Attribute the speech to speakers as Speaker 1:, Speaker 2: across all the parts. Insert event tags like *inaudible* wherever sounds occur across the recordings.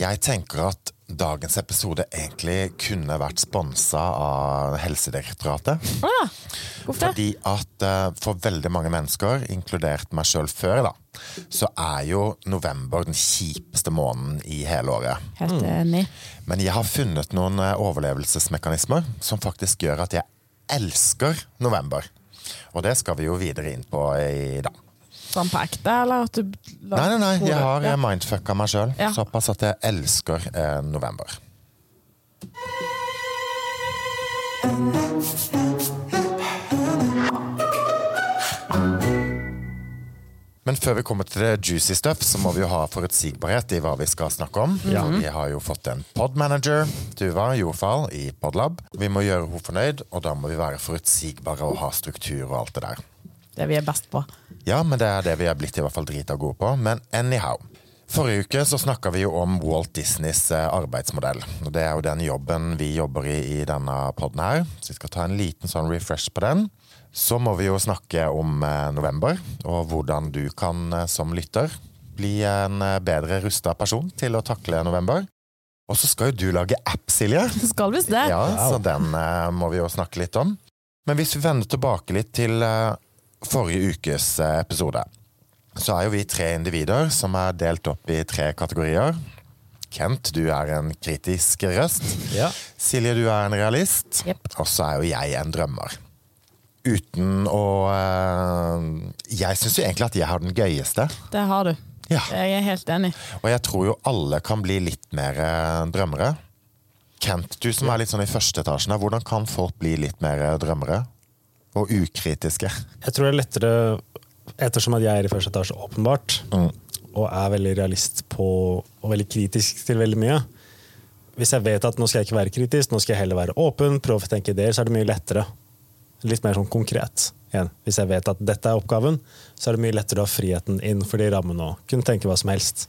Speaker 1: Jeg tenker at dagens episode egentlig kunne vært sponsa av Helsedirektoratet.
Speaker 2: Ah, hvorfor det?
Speaker 1: Fordi at eh, for veldig mange mennesker, inkludert meg sjøl før, da, så er jo november den kjipeste måneden i hele året.
Speaker 2: Helt eh, enig.
Speaker 1: Men jeg har funnet noen eh, overlevelsesmekanismer som faktisk gjør at jeg elsker november. Og det skal vi jo videre inn på i dag.
Speaker 2: Sånn på ekte, eller at du
Speaker 1: Nei, nei, nei, jeg har eh,
Speaker 2: ja.
Speaker 1: mindfucka meg sjøl
Speaker 2: Ja.
Speaker 1: såpass at jeg elsker eh, november. Men før vi kommer til det juicy stuff, så må vi jo ha forutsigbarhet i hva vi skal snakke om. Og Vi har jo fått en podmanager, Tuva Jordfall, i Podlab. Vi må gjøre henne fornøyd, og da må vi være forutsigbare og ha struktur og alt det der.
Speaker 2: Det vi er best
Speaker 1: *laughs*
Speaker 2: på.
Speaker 1: Ja, men det er det vi er blitt i hvert fall drita gode på. Men anyhow. Forrige uke så snakka vi jo om Walt Disneys eh, arbeidsmodell. Og det er jo den jobben vi jobber i i denne poden her. Så vi skal ta en liten sånn refresh på den. Så må vi jo snakke om eh, november, og hvordan du kan eh, som lytter bli en eh, bedre rusta person til å takle november. Og så skal jo du lage app, Silje.
Speaker 2: Du skal visst det.
Speaker 1: Ja, så den eh, må vi jo snakke litt om. Men hvis vi vender tilbake litt til eh, forrige ukes eh, episode, så er jo vi tre individer som er delt opp i tre kategorier. Kent, du er en kritisk røst.
Speaker 3: Ja.
Speaker 1: Silje, du er en realist.
Speaker 2: Jepp.
Speaker 1: Og så er jo jeg en drømmer. Uten å eh, Jeg syns jo egentlig at jeg har den gøyeste.
Speaker 2: Det har du.
Speaker 1: Ja.
Speaker 2: Jeg er helt enig.
Speaker 1: Og jeg tror jo alle kan bli litt mer eh, drømmere. Kent, du som er litt sånn i første etasjen, her, hvordan kan folk bli litt mer eh, drømmere? Og ukritiske.
Speaker 3: Jeg tror det er lettere, ettersom at jeg er i første etasje, åpenbart, og er veldig realist på, og veldig kritisk til veldig mye. Hvis jeg vet at nå skal jeg ikke være kritisk, nå skal jeg heller være åpen, prøve å tenke ideer, så er det mye lettere. Litt mer sånn konkret. Igjen. Hvis jeg vet at dette er oppgaven, så er det mye lettere å ha friheten innenfor de rammene og kunne tenke hva som helst.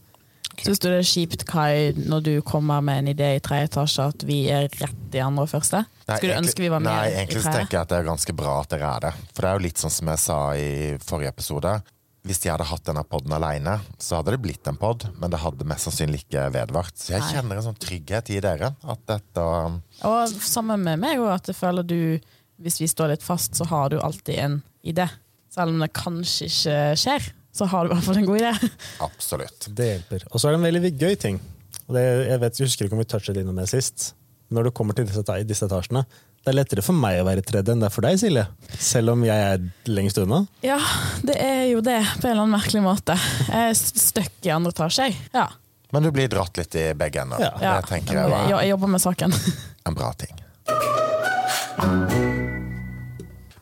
Speaker 2: Syns du det er kjipt, Kai, når du kommer med en idé i tredje etasje, at vi er rett i andre og første?
Speaker 1: Nei,
Speaker 2: Skulle du
Speaker 1: egentlig-
Speaker 2: ønske vi var med
Speaker 1: Nei,
Speaker 2: i
Speaker 1: egentlig så tenker
Speaker 2: tredje?
Speaker 1: jeg at det er ganske bra at dere er det. For det er jo litt sånn som jeg sa i forrige episode. Hvis jeg hadde hatt denne podden alene, så hadde det blitt en podd, men det hadde mest sannsynlig ikke vedvart. Så jeg
Speaker 2: Nei.
Speaker 1: kjenner en sånn trygghet i dere. At dette um,
Speaker 2: Og sammen med meg òg, at jeg føler du, hvis vi står litt fast, så har du alltid en idé. Selv om det kanskje ikke skjer, så har du i hvert fall en god idé.
Speaker 1: Absolutt.
Speaker 3: Det hjelper. Og så er det en veldig gøy ting. Og det, jeg, vet, jeg husker ikke om vi touchet innom det sist. Når du kommer til disse, eta- disse etasjene, det er lettere for meg å være tredje enn det er for deg, Silje. Selv om jeg er lengst unna.
Speaker 2: Ja, det er jo det, på en eller annen merkelig måte. Jeg er støkk i andre etasje, jeg. Ja.
Speaker 1: Men du blir dratt litt i begge ender.
Speaker 3: Ja.
Speaker 2: ja.
Speaker 1: Det tenker jeg var
Speaker 2: Jo- jeg jobber med saken. *laughs*
Speaker 1: en bra ting.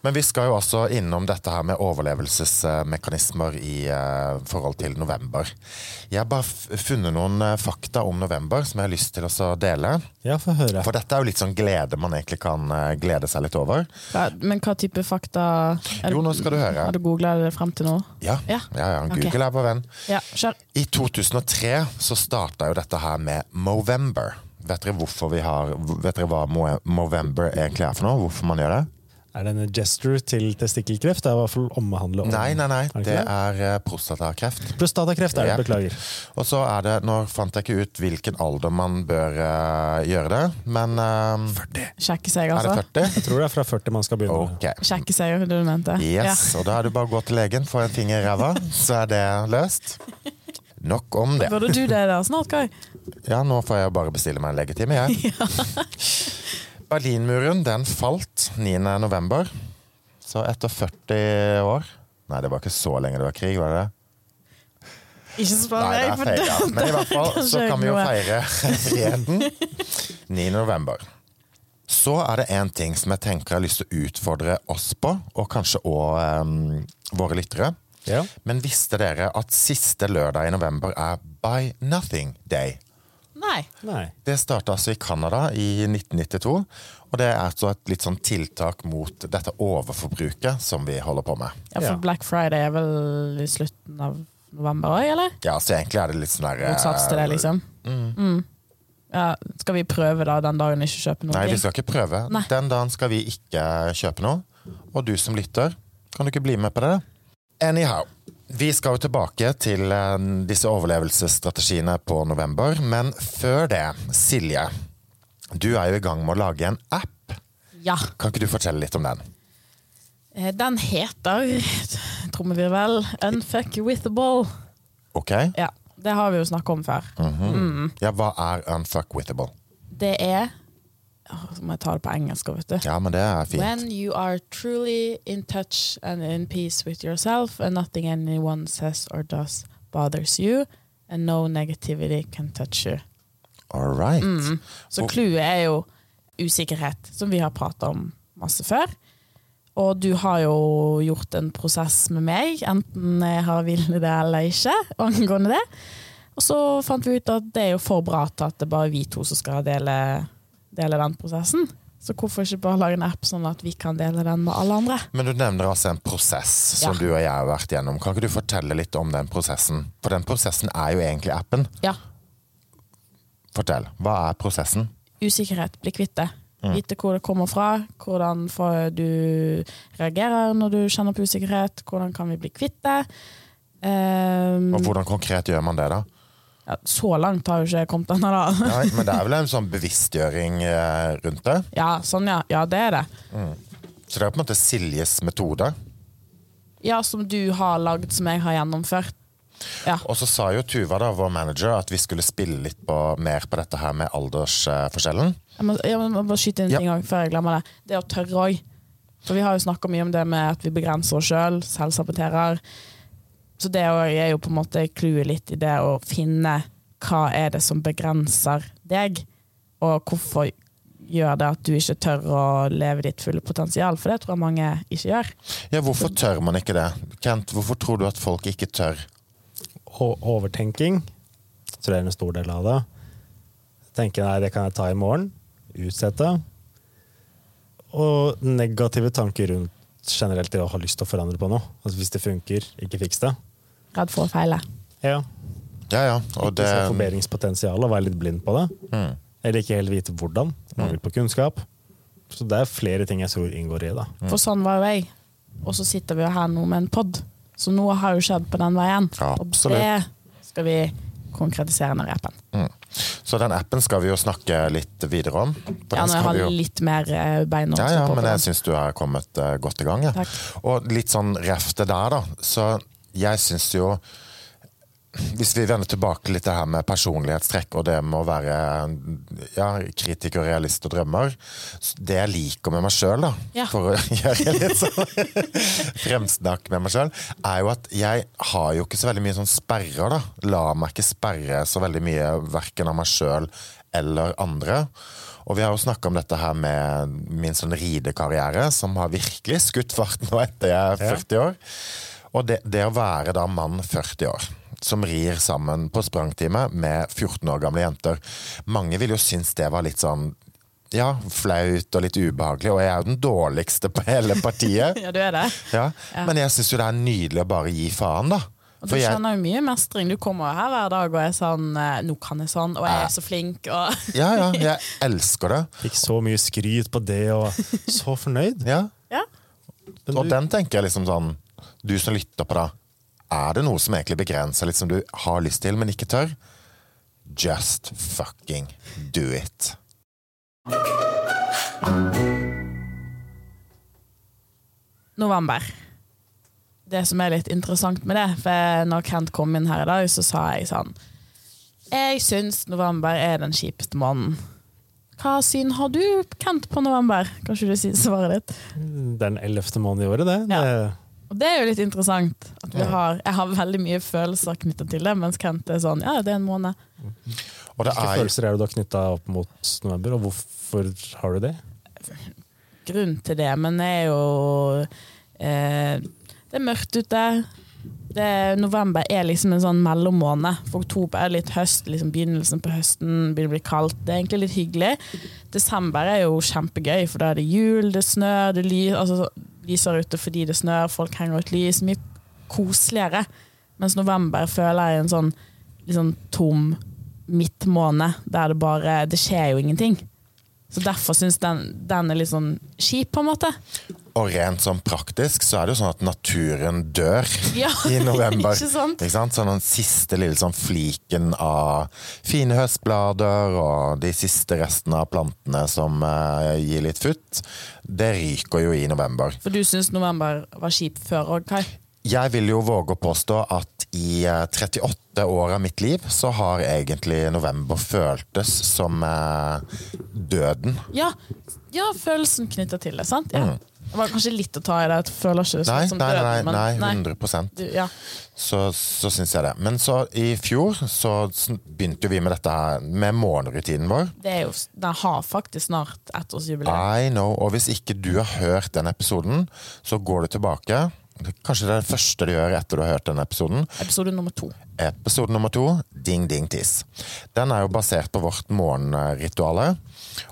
Speaker 1: Men vi skal jo også innom dette her med overlevelsesmekanismer i eh, forhold til november. Jeg har bare f- funnet noen eh, fakta om november som jeg har lyst til også å dele.
Speaker 3: Ja, få høre.
Speaker 1: For dette er jo litt sånn glede man egentlig kan eh, glede seg litt over.
Speaker 2: Ja, Men hva type fakta er
Speaker 1: Jo, nå skal du høre.
Speaker 2: Har du googla det frem til nå?
Speaker 1: Ja, ja,
Speaker 2: Ja.
Speaker 1: ja Google
Speaker 2: Ok.
Speaker 1: er vår venn.
Speaker 2: Ja, kjør.
Speaker 1: I 2003 så starta jo dette her med Movember. Vet dere, hvorfor vi har, vet dere hva Mo- Movember egentlig er for noe? Hvorfor man gjør det?
Speaker 3: Er det en gesture til testikkelkreft? Det er i hvert fall omhandle om
Speaker 1: Nei, nei,
Speaker 3: Er
Speaker 1: nei.
Speaker 3: det
Speaker 1: Det
Speaker 3: ikke
Speaker 1: er eh, prostatakreft.
Speaker 3: Prostatakreft er det,
Speaker 1: Ja.
Speaker 3: beklager.
Speaker 1: Og så er det Nå fant jeg ikke ut hvilken alder man bør eh, gjøre det, men eh,
Speaker 2: Sjekke seg,
Speaker 1: Er
Speaker 2: altså.
Speaker 1: det 40?
Speaker 3: *laughs* Jeg tror det er fra 40 man skal begynne.
Speaker 1: Ok.
Speaker 2: Sjekke seg, er det du mente?
Speaker 1: Yes. Og da er det bare å gå til legen, få en finger i ræva, så er det løst. Nok om
Speaker 2: Ja.
Speaker 1: det.
Speaker 2: Burde du det der snart, Kai?
Speaker 1: Ja, nå får jeg bare bestille meg en legetime, jeg. Berlinmuren den falt 9. november. Så etter 40 år Nei, det var ikke så lenge det var krig, var det det?
Speaker 2: Ikke spør
Speaker 1: Nei, det
Speaker 2: meg,
Speaker 1: er
Speaker 2: for
Speaker 1: feil, ja. Men i hvert fall så
Speaker 2: skjer
Speaker 1: kan vi jo
Speaker 2: noe.
Speaker 1: feire freden 9. november. Så er det én ting som jeg tenker jeg har lyst til å utfordre oss på, og kanskje òg våre lyttere.
Speaker 3: Ja.
Speaker 1: Men visste dere at siste lørdag i november er By Nothing Day?
Speaker 2: *laughs* Nei.
Speaker 3: Nei.
Speaker 1: Det starta altså i Canada i 1992, og det er altså et litt sånn tiltak mot dette overforbruket som vi holder på med.
Speaker 2: Ja, for
Speaker 3: Ja.
Speaker 2: Black Friday er vel i slutten av november òg, eller?
Speaker 1: Ja, så egentlig er det litt sånn der eh,
Speaker 2: Motsats til det, liksom. Mm. Ja, skal vi prøve da den dagen ikke kjøpe noe?
Speaker 1: Nei, vi skal ikke prøve.
Speaker 2: Nei.
Speaker 1: Den dagen skal vi ikke kjøpe noe. Og du som lytter, kan du ikke bli med på det? Anyhow. Vi skal jo tilbake til eh, disse overlevelsesstrategiene på november, men før det, Silje, du er jo i gang med å lage en app.
Speaker 2: Ja.
Speaker 1: Kan ikke du fortelle litt om den?
Speaker 2: Eh, Den heter, trommevirvel, Unfuck with the ball.
Speaker 1: Ok?
Speaker 2: Ja, det har vi jo snakket om før.
Speaker 1: Ja, hva er unfuckwithable?
Speaker 2: Det er Åh, Så må jeg ta det på engelsk, vet du.
Speaker 1: Ja, men det er fint.
Speaker 2: When you are truly in touch and in peace with yourself, and nothing anyone says or does bothers you, and no negativity can touch you.
Speaker 1: All right.
Speaker 2: Mm. Så
Speaker 1: Og-
Speaker 2: clouet er jo usikkerhet, som vi har prata om masse før. Og du har jo gjort en prosess med meg, enten jeg har villet det eller ikke, *laughs* angående det. Og så fant vi ut at det er jo for bra til at det er bare vi to som skal dele, dele den prosessen. Så hvorfor ikke bare lage en app sånn at vi kan dele den med alle andre?
Speaker 1: Men du nevner altså en prosess som
Speaker 2: Ja.
Speaker 1: du og jeg har vært gjennom. Kan ikke du fortelle litt om den prosessen? For den prosessen er jo egentlig appen.
Speaker 2: Ja,
Speaker 1: Fortell. Hva er prosessen?
Speaker 2: usikkerhet, bli kvitt det. Vite hvor det kommer fra, hvordan får du reagerer når du kjenner på usikkerhet, hvordan kan vi bli kvitt det. Ehm,
Speaker 1: Og hvordan konkret gjør man det, da?
Speaker 2: ja, så langt har jo ikke jeg kommet ennå, da.
Speaker 1: Nei, men det er vel en sånn bevisstgjøring eh, rundt det?
Speaker 2: *laughs* Ja, sånn, ja. Ja, det er det.
Speaker 1: Så det er på en måte Siljes metode.
Speaker 2: Ja, som du har lagd, som jeg har gjennomført. Ja.
Speaker 1: Og så sa jo Tuva, da, vår manager, at vi skulle spille litt på, mer på dette her med aldersforskjellen.
Speaker 2: Jeg må, jeg må bare skyte inn en ting også før jeg glemmer det. Det å tørre òg. For vi har jo snakka mye om det med at vi begrenser oss sjøl, selv, selvsaboterer. Så det å- jeg er jo på en måte clouet litt i det å finne hva er det som begrenser deg, og hvorfor gjør det at du ikke tør å leve ditt fulle potensial, for det tror jeg mange ikke gjør.
Speaker 1: Ja, hvorfor tør man ikke det? Kent, hvorfor tror du at folk ikke tør?
Speaker 3: Og overtenking tror jeg er en stor del av det. Tenke nei, det kan jeg ta i morgen. Utsette. Og negative tanker rundt generelt det å ha lyst til å forandre på noe. Altså Hvis det funker, ikke fiks det.
Speaker 2: Redd for å feile.
Speaker 3: Ja.
Speaker 1: Ja, ja. Og
Speaker 3: Ikke
Speaker 1: det,
Speaker 3: se forbedringspotensialet og være litt blind på det.
Speaker 1: Mm.
Speaker 3: Eller ikke helt vite hvordan. Mangel på kunnskap. Så det er flere ting jeg tror inngår i det.
Speaker 1: Mm.
Speaker 2: For sånn var jo jeg. Og så sitter vi jo her nå med en pod. Så noe har jo skjedd på den veien.
Speaker 1: Ja,
Speaker 2: Og
Speaker 1: absolutt.
Speaker 2: det skal vi konkretisere når i appen.
Speaker 1: Mm. så den appen skal vi jo snakke litt videre om. For
Speaker 2: Ja,
Speaker 1: den
Speaker 2: når
Speaker 1: skal
Speaker 2: jeg
Speaker 1: vi
Speaker 2: har
Speaker 1: jo-
Speaker 2: litt mer eh, bein å
Speaker 1: Ja,
Speaker 2: stå
Speaker 1: ja,
Speaker 2: på.
Speaker 1: men
Speaker 2: på
Speaker 1: jeg
Speaker 2: den.
Speaker 1: syns du har kommet eh, godt i gang. Ja.
Speaker 2: Takk.
Speaker 1: Og litt sånn refte der, da. Så jeg syns jo Hvis vi vender tilbake litt det her med personlighetstrekk og det med å være ja, kritiker, realist og drømmer s- Det jeg liker med meg sjøl, da,
Speaker 2: Ja.
Speaker 1: for å *laughs* gjøre litt sånn fremsnakk med meg sjøl, er jo at jeg har jo ikke så veldig mye sånn sperrer, da. Lar meg ikke sperre så veldig mye verken av meg sjøl eller andre. Og vi har jo snakka om dette her med min sånn ridekarriere, som har virkelig skutt fart nå etter jeg er 40 år. Og det, det å være da mann 40 år, som rir sammen på sprangtime med 14 år gamle jenter Mange vil jo synes det var litt sånn ja, flaut og litt ubehagelig, og jeg er jo den dårligste på hele
Speaker 2: *laughs*
Speaker 1: partiet.
Speaker 2: Ja, du er det.
Speaker 1: Ja. Men jeg syns jo det er nydelig å bare gi faen, da.
Speaker 2: Og du
Speaker 1: For jeg,
Speaker 2: kjenner jo mye mestring. Du kommer jo her hver dag og er sånn eh, Nå kan jeg sånn, og jeg er så flink, og *laughs*
Speaker 1: ja, ja, jeg elsker det.
Speaker 3: Fikk så mye skryt på det, og så fornøyd.
Speaker 1: Ja.
Speaker 2: Ja.
Speaker 1: *laughs*
Speaker 3: Men
Speaker 1: Og
Speaker 3: du-
Speaker 1: den tenker jeg liksom sånn Du som lytter på, da. Er det noe som egentlig begrenser litt, som du har lyst til, men ikke tør? Just fucking do it.
Speaker 2: November. Det som er litt interessant med det, for når Kent kom inn her i dag, så sa jeg sånn Jeg syns november er den kjipeste måneden. Hva syn har du, Kent, på november? Kanskje du sier svaret ditt?
Speaker 3: Det er den ellevte måneden i året, det.
Speaker 2: Ja.
Speaker 3: Det-
Speaker 2: Og det er jo litt interessant. At vi har, jeg har veldig mye følelser knytta til det, mens Kent er sånn Ja, det er en måned.
Speaker 1: Og det
Speaker 3: Hvilke
Speaker 1: er jo
Speaker 3: følelser er det du har knytta opp mot november, og hvorfor har du det?
Speaker 2: grunn til det, men det er jo eh, Det er mørkt ute. Det, november er liksom en sånn mellommåned. For oktober er litt høst, liksom begynnelsen på høsten, begynner å bli kaldt. Det er egentlig litt hyggelig. Desember er jo kjempegøy, for da er det jul, det snør, det ly, altså, lyser ute fordi det snør, folk henger ut lys. Mye koseligere. Mens november føler jeg en sånn litt sånn tom midtmåned, der det bare Det skjer jo ingenting. Så derfor syns den, den er litt sånn kjip, på en måte.
Speaker 1: Og rent sånn praktisk så er det jo sånn at naturen dør
Speaker 2: *laughs* Ja,
Speaker 1: i november.
Speaker 2: ikke sant?
Speaker 1: Ikke sant? Sånn den siste lille sånn fliken av fine høstblader og de siste restene av plantene som eh, gir litt futt, det ryker jo i november.
Speaker 2: For du syns november var kjip før òg, Kai?
Speaker 1: Jeg vil jo våge å påstå at i eh, 38 år av mitt liv så har egentlig november føltes som eh, døden.
Speaker 2: Ja, ja følelsen knytta til det, sant? Ja. Det var kanskje litt å ta i det. Jeg føler ikke det
Speaker 1: Mm. Nei,
Speaker 2: som
Speaker 1: nei, nei,
Speaker 2: døden,
Speaker 1: nei,
Speaker 2: men-
Speaker 1: 100
Speaker 2: Du, ja.
Speaker 1: så, så syns jeg det. Men så i fjor så sn- begynte jo vi med dette her med morgenrutinen vår.
Speaker 2: Det er jo, den har faktisk snart ettårsjubileum.
Speaker 1: I know, Og hvis ikke du har hørt den episoden, så går du tilbake. Kanskje det er det første du gjør etter du har hørt den episoden.
Speaker 2: Episode nummer to.
Speaker 1: Episode nummer to, Ding Ding Tiss. Den er jo basert på vårt morgenrituale.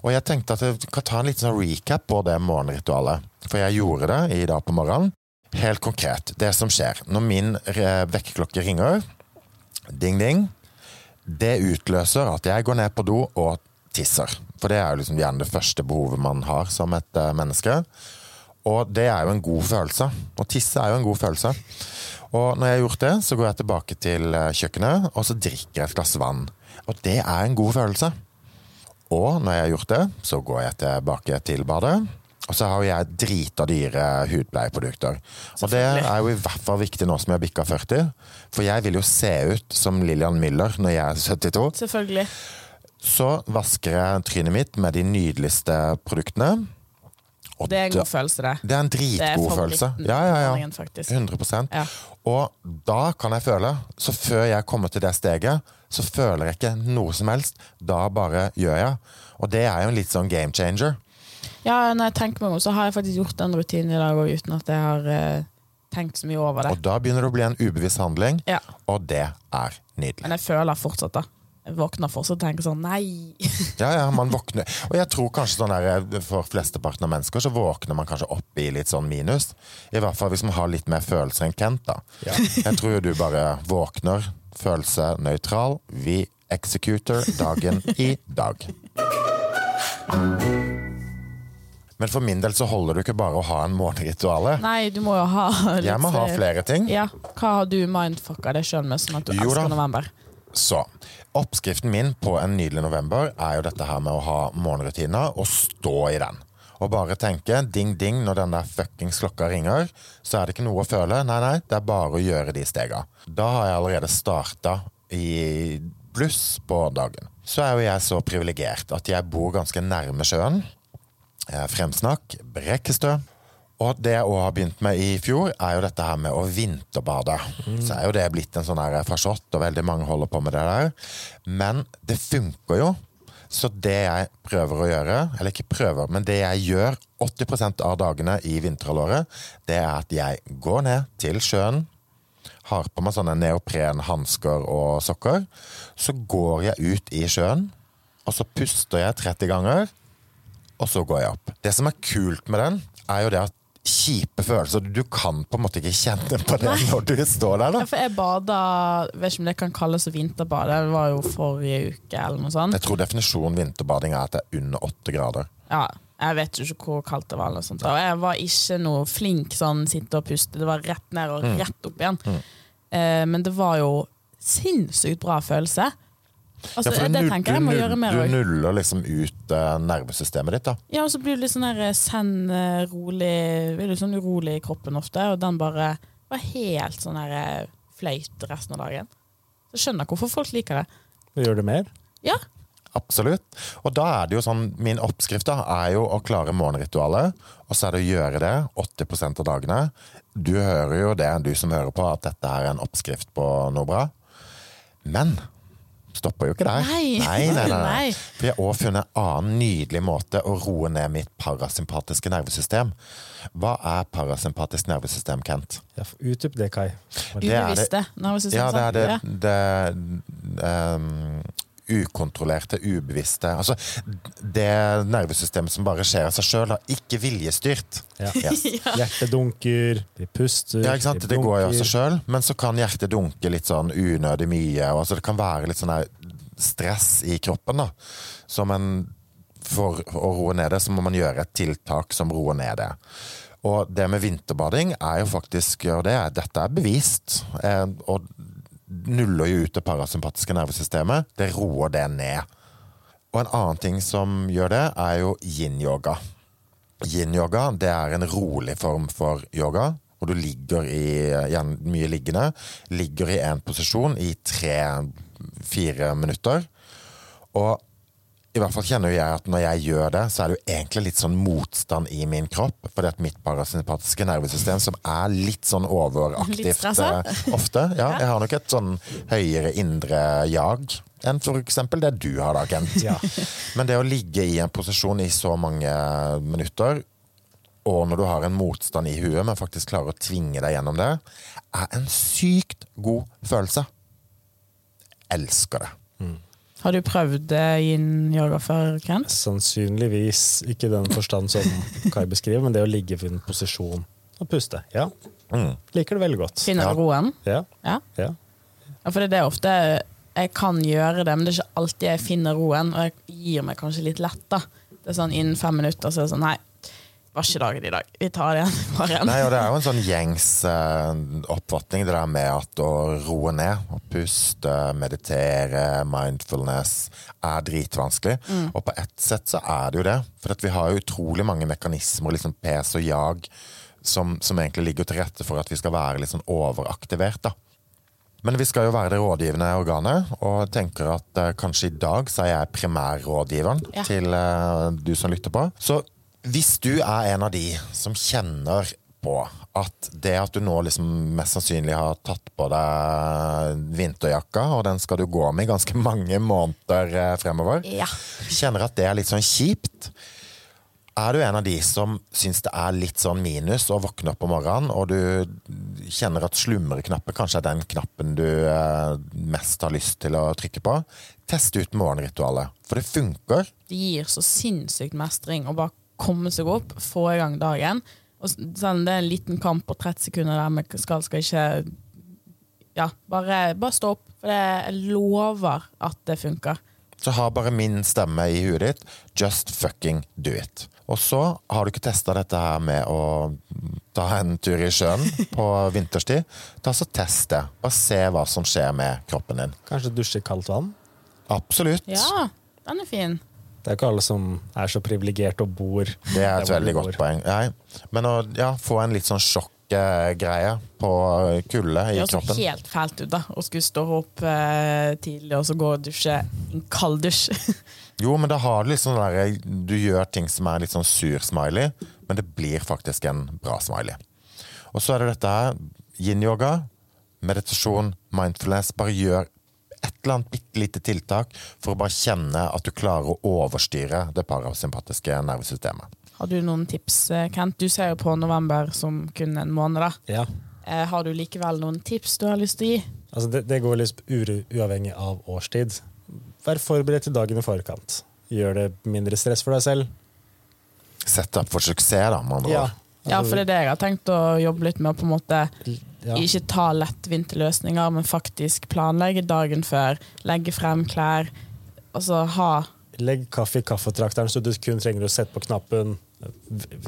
Speaker 1: Og jeg tenkte at jeg kan ta en liten sånn recap på det morgenritualet. For jeg gjorde det i dag på morgenen. Helt konkret, det som skjer. Når min eh, vekkerklokke ringer, ding ding, det utløser at jeg går ned på do og tisser. For det er jo liksom gjerne det første behovet man har som et eh, menneske. Og det er jo en god følelse. Å tisse er jo en god følelse. Og når jeg har gjort det, så går jeg tilbake til eh, kjøkkenet, og så drikker jeg et glass vann. Og det er en god følelse. Og når jeg har gjort det, så går jeg tilbake til badet. Og så har jo jeg drita dyre hudpleieprodukter. Og det er jo i hvert fall viktig nå som jeg har bikka 40. For jeg vil jo se ut som Lillian Müller når jeg er 72.
Speaker 2: Selvfølgelig.
Speaker 1: Så vasker jeg trynet mitt med de nydeligste produktene. Og
Speaker 2: Det er en
Speaker 1: da-
Speaker 2: god følelse, det.
Speaker 1: det er en
Speaker 2: Det er
Speaker 1: dritgod
Speaker 2: favoritten
Speaker 1: følelse. Ja, ja, ja.
Speaker 2: morgenen, faktisk.
Speaker 1: 100
Speaker 2: Ja.
Speaker 1: Og da kan jeg føle, så før jeg kommer til det steget, så føler jeg ikke noe som helst. Da bare gjør jeg. Og det er jo en litt sånn game changer.
Speaker 2: Ja, når jeg tenker meg om, så har jeg faktisk gjort den rutinen i dag òg, uten at jeg har eh, tenkt så mye over det.
Speaker 1: Og da begynner det å bli en ubevisst handling,
Speaker 2: Ja.
Speaker 1: og det er nydelig.
Speaker 2: Men jeg føler fortsatt, da. Jeg våkner fortsatt og tenker sånn Nei!
Speaker 1: Ja, ja, man våkner. Og jeg tror kanskje sånn der, for flesteparten av mennesker så våkner man kanskje opp i litt sånn minus. I hvert fall hvis man har litt mer følelser enn Kent, da.
Speaker 3: Ja.
Speaker 1: Jeg tror jo du bare våkner, følelse nøytral. Vi executor dagen i dag. Men for min del så holder det jo ikke bare å ha en morgenrituale.
Speaker 2: Nei, du må jo ha litt- eh,
Speaker 1: Jeg må ha flere ting.
Speaker 2: Ja. Hva har du mindfucka deg sjøl med, sånn at du
Speaker 1: Jo da.
Speaker 2: elsker november?
Speaker 1: Så oppskriften min på en nydelig november er jo dette her med å ha morgenrutiner og stå i den. Og bare tenke ding-ding når den der fuckings klokka ringer, så er det ikke noe å føle. Nei, nei, det er bare å gjøre de stega. Da har jeg allerede starta i bluss på dagen. Så er jo jeg så privilegert at jeg bor ganske nærme sjøen. Eh, Fremsnakk, Brekkestø. Og det jeg også har begynt med i fjor, er jo dette her med å vinterbade. Så er jo det blitt en sånn her farsott, og veldig mange holder på med det der. Men det funker jo. Så det jeg prøver å gjøre, eller ikke prøver, men det jeg gjør 80 av dagene i vinterhalvåret, det er at jeg går ned til sjøen, har på meg sånne neoprenhansker og sokker. Så går jeg ut i sjøen, og så puster jeg 30 ganger og så går jeg opp. Det som er kult med den, er jo det at kjipe følelser Du kan på en måte ikke kjenne på det når du står der.
Speaker 2: Ja,
Speaker 1: da.
Speaker 2: for jeg bada Vet ikke om det kan kalles å vinterbade. Det var jo forrige uke eller noe sånt.
Speaker 1: Jeg tror definisjonen vinterbading er at det er under åtte grader.
Speaker 2: Ja, jeg vet jo ikke hvor kaldt det var. Eller noe sånt. Og jeg var ikke noe flink sånn sitte og puste. Det var rett ned
Speaker 1: Mm.
Speaker 2: og rett opp igjen. Eh, men det var jo sinnssykt bra følelse.
Speaker 1: Ja,
Speaker 2: Altså,
Speaker 1: for
Speaker 2: det,
Speaker 1: du null-
Speaker 2: tenker jeg jeg må
Speaker 1: du null-
Speaker 2: gjøre mer
Speaker 1: Du
Speaker 2: òg.
Speaker 1: nuller liksom ut eh, nervesystemet ditt, da.
Speaker 2: Ja, og så blir du litt sånn der eh, send, eh, rolig Blir du sånn urolig i kroppen ofte, og den bare var helt sånn der eh, fløyt resten av dagen. Så jeg skjønner hvorfor folk liker det.
Speaker 3: Gjør det mer?
Speaker 2: Ja,
Speaker 1: Absolutt. Og da er det jo sånn Min oppskrift da er jo å klare morgenritualet, og så er det å gjøre det 80 av dagene. Du hører jo det, du som hører på, at dette er en oppskrift på noe bra. Men stopper jo ikke der.
Speaker 2: Nei.
Speaker 1: nei, nei, nei,
Speaker 2: *laughs* Nei.
Speaker 1: nei. For jeg har også funnet en annen nydelig måte å roe ned mitt parasympatiske nervesystem. Hva er parasympatisk nervesystem, Kent?
Speaker 3: Ja, for Utdyp det, Kai.
Speaker 1: Det er det.
Speaker 2: ubevisste. nervøse
Speaker 1: Ja, det er det,
Speaker 2: sensorer.
Speaker 1: det ehm, ukontrollerte, ubevisste Altså det nervesystemet som bare skjer av seg sjøl, ikke viljestyrt.
Speaker 3: Ja.
Speaker 1: Yes.
Speaker 3: Hjertet dunker, vi puster,
Speaker 1: Ja, ikke sant?
Speaker 3: vi
Speaker 1: Det går jo av
Speaker 3: blunker.
Speaker 1: seg sjøl, men så kan hjertet dunke litt sånn unødig mye. Og altså det kan være litt sånn her stress i kroppen. da. Som en, for å roe ned det, så må man gjøre et tiltak som roer ned det. Og det med vinterbading er jo faktisk og det, er- Dette er bevist. Eh, og nuller jo ut det parasympatiske nervesystemet. Det roer det ned. Og en annen ting som gjør det, er jo yin-yoga. Yin-yoga det er en rolig form for yoga. Hvor du ligger i igjen mye liggende. Ligger i én posisjon i tre-fire minutter. Og i hvert fall kjenner jo jeg at når jeg gjør det, så er det jo egentlig litt sånn motstand i min kropp. Fordi at mitt parasympatiske nervesystem, som er litt sånn overaktivt
Speaker 2: Litt stressa?
Speaker 1: eh, ofte ja, Jeg har nok et sånn høyere indre jag enn f.eks. det du har da, Kent.
Speaker 3: Ja.
Speaker 1: Men det å ligge i en posisjon i så mange minutter, og når du har en motstand i huet, men faktisk klarer å tvinge deg gjennom det, er en sykt god følelse. Elsker det.
Speaker 2: Har du prøvd eh, yin-yoga før, Kent?
Speaker 3: Sannsynligvis ikke i den forstand som Kai beskriver, men det å ligge i en posisjon og puste. Ja.
Speaker 1: Mm.
Speaker 3: Liker det veldig godt.
Speaker 2: Finner
Speaker 1: Ja.
Speaker 2: du roen?
Speaker 3: Ja.
Speaker 2: Ja.
Speaker 3: ja.
Speaker 2: ja, for det er det ofte jeg kan gjøre det, men det er ikke alltid jeg finner roen, og jeg gir meg kanskje litt lett da. Det er sånn innen fem minutter, så er det sånn, nei, var ikke dagen i dag. Vi tar det igjen, bare igjen.
Speaker 1: Nei, og det er jo en sånn gjengs eh, oppfatning, det der med at å roe ned, å puste, meditere, mindfulness, er dritvanskelig. Og på ett sett så er det jo det. For at vi har jo utrolig mange mekanismer, liksom pes og jag, som, som egentlig ligger til rette for at vi skal være litt sånn overaktivert, da. Men vi skal jo være det rådgivende organet, og tenker at eh, kanskje i dag så er jeg primærrådgiveren
Speaker 2: Ja.
Speaker 1: til eh, du som lytter på. Så hvis du er en av de som kjenner på at det at du nå liksom mest sannsynlig har tatt på deg vinterjakka, og den skal du gå med i ganske mange måneder eh, fremover,
Speaker 2: Ja.
Speaker 1: kjenner at det er litt sånn kjipt. Er du en av de som syns det er litt sånn minus å våkne opp om morgenen, og du kjenner at slumreknappen kanskje er den knappen du eh, mest har lyst til å trykke på, test ut morgenritualet. For det funker.
Speaker 2: det gir så sinnssykt mestring å bare komme seg opp, få i gang dagen. Og s- sånn, det er en liten kamp på 30 sekunder der vi skal, skal ikke Ja, bare, bare stå opp. For det, jeg lover at det funker.
Speaker 1: Så ha bare min stemme i huet ditt. Just fucking do it. Og så har du ikke testa dette her med å ta en tur i sjøen *laughs* på vinterstid. Ta så Test det, og se hva som skjer med kroppen din.
Speaker 3: Kanskje dusje i kaldt vann.
Speaker 1: Absolutt.
Speaker 2: Ja, den er fin.
Speaker 3: Det er ikke alle som er så privilegerte og bor
Speaker 1: Det er
Speaker 3: der
Speaker 1: et
Speaker 3: hvor
Speaker 1: veldig
Speaker 3: de
Speaker 1: godt
Speaker 3: bor.
Speaker 1: poeng. Nei. Men å ja, få en litt sånn sjokkgreie på kulde i
Speaker 2: Det høres jo
Speaker 1: kroppen.
Speaker 2: helt fælt ut da å skulle stå opp eh, tidlig og så gå og dusje. En kald dusj. *laughs*
Speaker 1: Jo, men da har du litt sånn der, Du gjør ting som er litt sånn sur-smiley, men det blir faktisk en bra smiley. Og så er det dette her. Yin-yoga, meditasjon, mindfulness. Bare gjør et eller annet bitte lite tiltak for å bare kjenne at du klarer å overstyre det parasympatiske nervesystemet.
Speaker 2: Har du noen tips, eh, Kent? Du ser jo på november som kun en måned. da.
Speaker 3: Ja.
Speaker 2: Eh, har du likevel noen tips du har lyst til å gi?
Speaker 3: Altså det, det går litt ure- uavhengig av årstid. Vær forberedt til dagen i forkant. Gjør det mindre stress for deg selv.
Speaker 1: Sett deg opp for suksess, da, med andre ord.
Speaker 3: Altså-
Speaker 2: Ja, for det er det jeg har tenkt å jobbe litt med. å på en måte
Speaker 3: Ja.
Speaker 2: Ikke ta lettvinte løsninger, men faktisk planlegge dagen før. Legge frem klær. Altså ha
Speaker 3: Legg kaffe i kaffetrakteren, så du kun trenger å sette på knappen.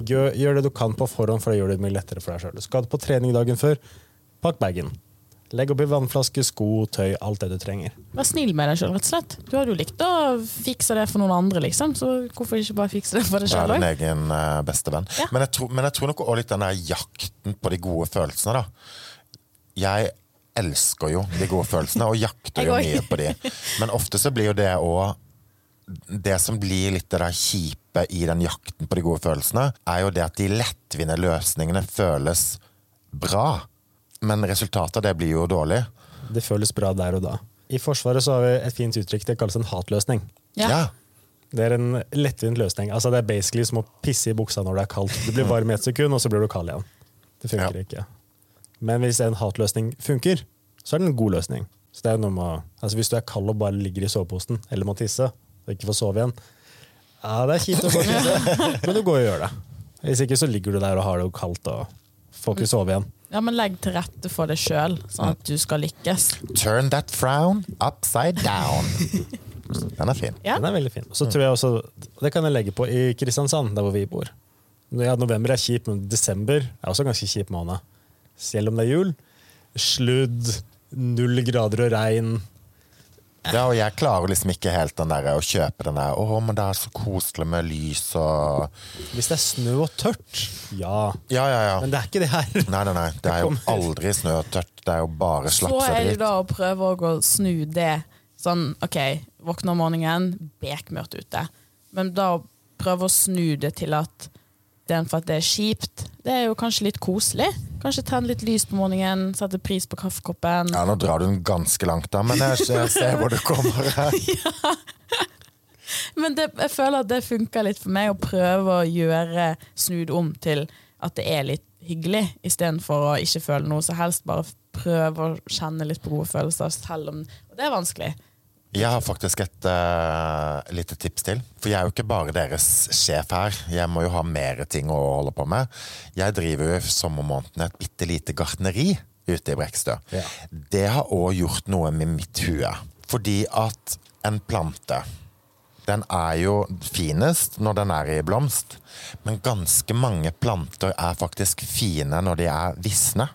Speaker 3: Gjør, gjør det du kan på forhånd, for det gjør det mye lettere for deg sjøl. Skal du på trening dagen før, pakk bagen. Legg oppi vannflaske, sko, tøy, alt det du trenger.
Speaker 2: Vær snill med deg sjøl, rett og slett. Du hadde jo likt å fikse det for noen andre, liksom. Så hvorfor ikke bare fikse det for deg
Speaker 1: Vær
Speaker 2: sjøl
Speaker 1: din
Speaker 2: òg?
Speaker 1: egen eh, beste venn.
Speaker 2: Ja.
Speaker 1: Men, jeg tror, men jeg tror nok også litt den der jakten på de gode følelsene, da. Jeg elsker jo de gode følelsene, og jakter
Speaker 2: *laughs* Jeg
Speaker 1: jo
Speaker 2: også.
Speaker 1: mye på de. Men ofte så blir jo det òg Det som blir litt det der kjipe i den jakten på de gode følelsene, er jo det at de lettvinte løsningene føles bra. Men resultatet av det blir jo dårlig.
Speaker 3: Det føles bra der og da. I Forsvaret så har vi et fint uttrykk, det kalles en hatløsning.
Speaker 2: Ja.
Speaker 3: Det er en lettvint løsning. Altså Det er basically som å pisse i buksa når det er kaldt. Du blir varm i ett sekund, og så blir du kald igjen. Det funker
Speaker 1: Ja.
Speaker 3: ikke. Men hvis en hatløsning funker, så er det en god løsning. Så det er noe med, å- altså Hvis du er kald og bare ligger i soveposen, eller må tisse, og ikke får sove igjen Ja, det er kjipt å gå og tisse, men du går og gjør det. Hvis ikke så ligger du der og har det jo kaldt og får ikke sove igjen.
Speaker 2: ja, men legg til rette for det sjøl, sånn at du skal lykkes.
Speaker 1: Turn that frown upside down. Den er fin.
Speaker 2: Ja.
Speaker 3: Den er veldig fin. Så tror jeg også, Det kan jeg legge på i Kristiansand, der hvor vi bor. ja, november er kjip, men desember er også en ganske kjip måned. Selv om det er jul. Sludd, null grader og regn.
Speaker 1: Ja, og jeg klarer liksom ikke helt den der, å kjøpe den der 'Å, men det er så koselig med lys og
Speaker 3: Hvis det er snø og tørt, ja.
Speaker 1: Ja, ja, ja.
Speaker 3: Men det er ikke det
Speaker 1: *laughs*
Speaker 3: her.
Speaker 1: Nei, nei, nei. Det er jo aldri snø og tørt. Det er jo bare
Speaker 2: Så
Speaker 1: slaps og
Speaker 2: er det
Speaker 1: dritt.
Speaker 2: da å prøve å gå- snu det sånn OK, våkne om morgenen, bekmørkt ute. Men da å prøve å snu det til at det er for at det er kjipt, det er jo kanskje litt koselig. Kanskje tenne litt lys på morgenen, sette pris på kaffekoppen.
Speaker 1: Ja, nå drar du den ganske langt, da, men jeg ser, jeg ser hvor du kommer.
Speaker 2: Men det, jeg føler at det funker litt for meg å prøve å gjøre snu det om til at det er litt hyggelig, istedenfor å ikke føle noe som helst. Bare prøve å kjenne litt på gode følelser, selv om Og det er vanskelig.
Speaker 1: Jeg har faktisk et eh, lite tips til. For jeg er jo ikke bare deres sjef her. Jeg må jo ha mer ting å holde på med. Jeg driver jo i sommermånedene et bitte lite gartneri ute i Brekstø.
Speaker 3: Ja.
Speaker 1: Det har òg gjort noe med mitt hue. Fordi at en plante den er jo finest når den er i blomst, men ganske mange planter er faktisk fine når de er visne.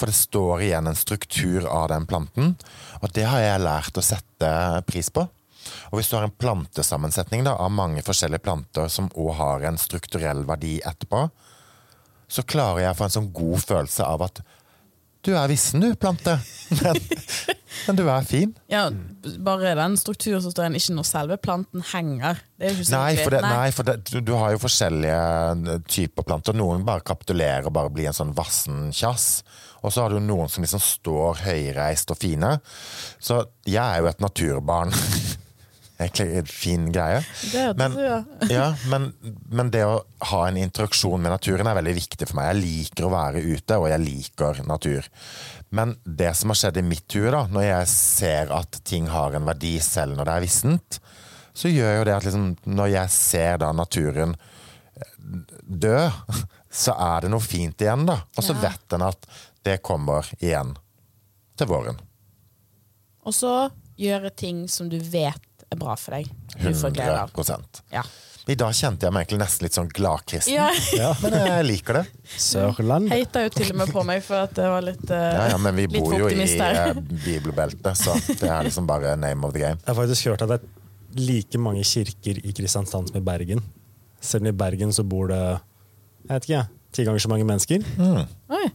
Speaker 1: For det står igjen en struktur av den planten, og det har jeg lært å sette pris på. Og hvis du har en plantesammensetning da, av mange forskjellige planter som òg har en strukturell verdi etterpå, så klarer jeg å få en sånn god følelse av at du er vissen, du, plante. *laughs* Men, men du er fin.
Speaker 2: Ja, b- bare den strukturen som står igjen, ikke når selve planten henger. Det er jo ikke så
Speaker 1: Nei,
Speaker 2: viktig.
Speaker 1: for, det, nei, for det, du, du har jo forskjellige eh, typer planter. Noen bare kapitulerer og bare blir en sånn vassen kjass. Og så har du noen som liksom står høyreist og fine. Så jeg er jo et naturbarn. *laughs* Egentlig en fin greie.
Speaker 2: Det hørtes
Speaker 1: Men,
Speaker 2: jo, ja.
Speaker 1: ja, men, men det å ha en interaksjon med naturen er veldig viktig for meg. Jeg liker å være ute, og jeg liker natur. Men det som har skjedd i mitt hue, da, når jeg ser at ting har en verdi selv når det er vissent, så gjør jo det at liksom, når jeg ser da naturen eh, dø, *laughs* så er det noe fint igjen, da. Og så
Speaker 2: Ja.
Speaker 1: vet en at det kommer igjen til våren.
Speaker 2: Og så gjøre ting som du vet er bra for deg. Du får glede
Speaker 1: 100
Speaker 2: av. Ja.
Speaker 1: I dag kjente jeg meg egentlig nesten litt sånn gladkristen,
Speaker 2: *laughs* ja.
Speaker 3: Ja.
Speaker 1: men jeg liker det.
Speaker 3: Sørland.
Speaker 2: Heita jo til og med på meg for at det var litt, eh,
Speaker 1: Ja, ja, men vi
Speaker 2: litt
Speaker 1: bor jo i
Speaker 2: optimist her.
Speaker 1: eh, bibelbeltet, så det er liksom bare name of the game.
Speaker 3: Jeg har faktisk hørt at det er like mange kirker i Kristiansand som i Bergen. Selv om i Bergen så bor det jeg vet ikke, jeg, ti ganger så mange mennesker.
Speaker 2: *laughs* Oi,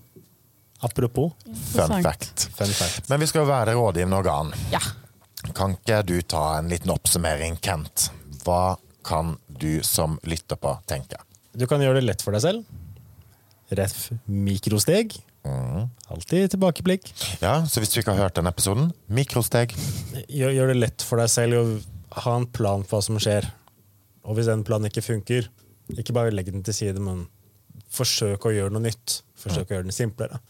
Speaker 3: Apropos,
Speaker 1: Fun
Speaker 2: interessant.
Speaker 1: fact.
Speaker 3: fun fact.
Speaker 1: Men vi skal jo være det rådgivende organ.
Speaker 2: Ja.
Speaker 1: Kan ikke du ta en liten oppsummering, Kent? Hva kan du som lytter på, tenke?
Speaker 3: Du kan gjøre det lett for deg selv. Ref mikrosteg. Mm. Alltid tilbakeblikk.
Speaker 1: Ja, så hvis du ikke har hørt den episoden, mikrosteg.
Speaker 3: Gjør, gjør det lett for deg selv å ha en plan for hva som skjer. Og hvis den planen ikke funker, ikke bare legg den til side, men forsøk å gjøre noe nytt. Forsøk å gjøre den simplere.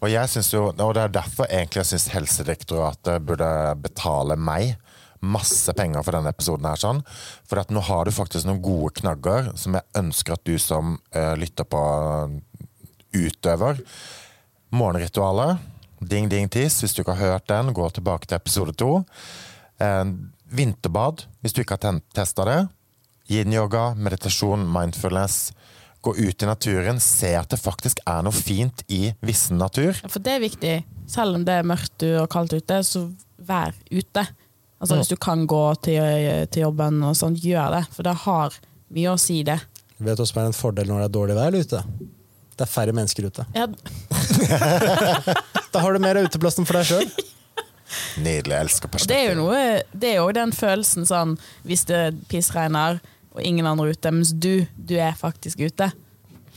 Speaker 1: Og jeg synes jo, og det er derfor egentlig jeg synes Helsedirektoratet burde betale meg masse penger for denne episoden her, sånn. For at nå har du faktisk noen gode knagger som jeg ønsker at du som eh, lytter på utøver. Morgenritualet, ding ding tiss, hvis du ikke har hørt den, gå tilbake til episode to. Eh, vinterbad, hvis du ikke har testa det. Yin-yoga, meditasjon, mindfulness. Gå ut i naturen, se at det faktisk er noe fint i vissen natur.
Speaker 2: Ja, For det er viktig. Selv om det er mørkt og kaldt ute, så vær ute.
Speaker 1: Mm.
Speaker 2: Altså Hvis du kan gå til, til jobben, og sånn, gjør det. For det har mye å si, det.
Speaker 3: Vet du hva som er en fordel når det er dårlig vær ute? Det er færre mennesker ute.
Speaker 2: Ja,
Speaker 3: Da har du mer av uteplassen for deg sjøl.
Speaker 1: Nydelig. Jeg elsker
Speaker 2: Og Det er jo
Speaker 1: perspektiv.
Speaker 2: noe, det er jo den følelsen sånn hvis det pissregner og ingen andre er ute, mens du, du er faktisk ute.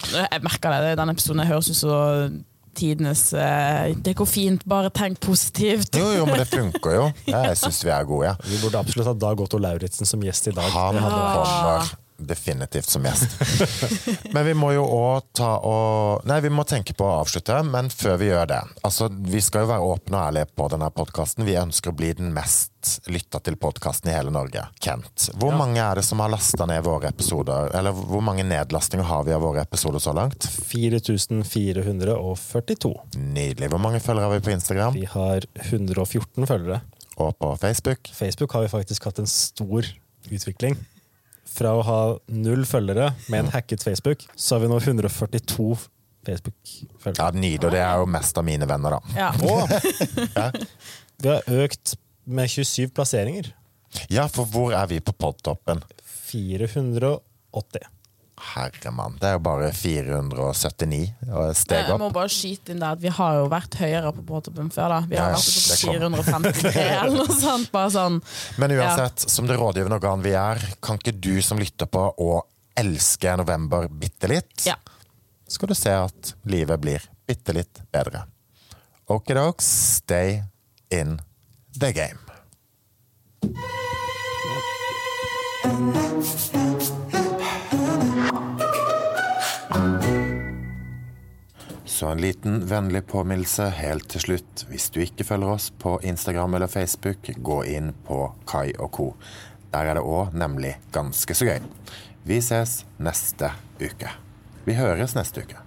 Speaker 2: Jeg merker det. Den episoden høres ut som tidenes eh, Det går fint, bare tenk positivt.
Speaker 1: Jo, jo, men det funker jo. Jeg syns vi er gode, ja.
Speaker 3: *laughs* Vi burde absolutt ha Dag Otto Lauritzen som gjest i dag.
Speaker 1: Han kommer definitivt som gjest. Men vi må jo òg ta og Nei, vi må tenke på å avslutte, men før vi gjør det Altså, vi skal jo være åpne og ærlige på denne podkasten. Vi ønsker å bli den mest lytta til podkasten i hele Norge. Kent, hvor mange er det som har lasta ned våre episoder? Eller hvor mange nedlastinger har vi av våre episoder så langt?
Speaker 3: 4442.
Speaker 1: Nydelig. Hvor mange følgere har vi på Instagram
Speaker 3: Vi har 114 følgere.
Speaker 1: og på Facebook?
Speaker 3: Facebook har vi faktisk hatt en stor utvikling. fra å ha null følgere med en hacket Facebook, så har vi nå 142 Facebook-følgere.
Speaker 1: Ja, Nydelig. og Det er jo mest av mine venner, da.
Speaker 2: Ja.
Speaker 3: Vi har økt med 27 plasseringer.
Speaker 1: Ja, for hvor er vi på podtoppen?
Speaker 3: 480.
Speaker 1: Herre mann, det er jo bare 479 og steg
Speaker 2: Jeg må
Speaker 1: opp.
Speaker 2: bare skyte inn der at vi har jo vært høyere på båttoppen før. da Vi
Speaker 1: Ja,
Speaker 2: har
Speaker 1: ja,
Speaker 2: vært
Speaker 1: det
Speaker 2: oppe på 453 eller noe sånt. Bare sånn.
Speaker 1: Men uansett, som det rådgivende organ vi er, kan ikke du som lytter på å elske november bitte litt,
Speaker 2: Ja.
Speaker 1: skal du se at livet blir bitte litt bedre. Okidoks, stay in the game. Så en liten vennlig påminnelse helt til slutt. Hvis du ikke følger oss på Instagram eller Facebook, gå inn på Kai og co. Der er det òg nemlig ganske så gøy. Vi ses neste uke. Vi høres neste uke.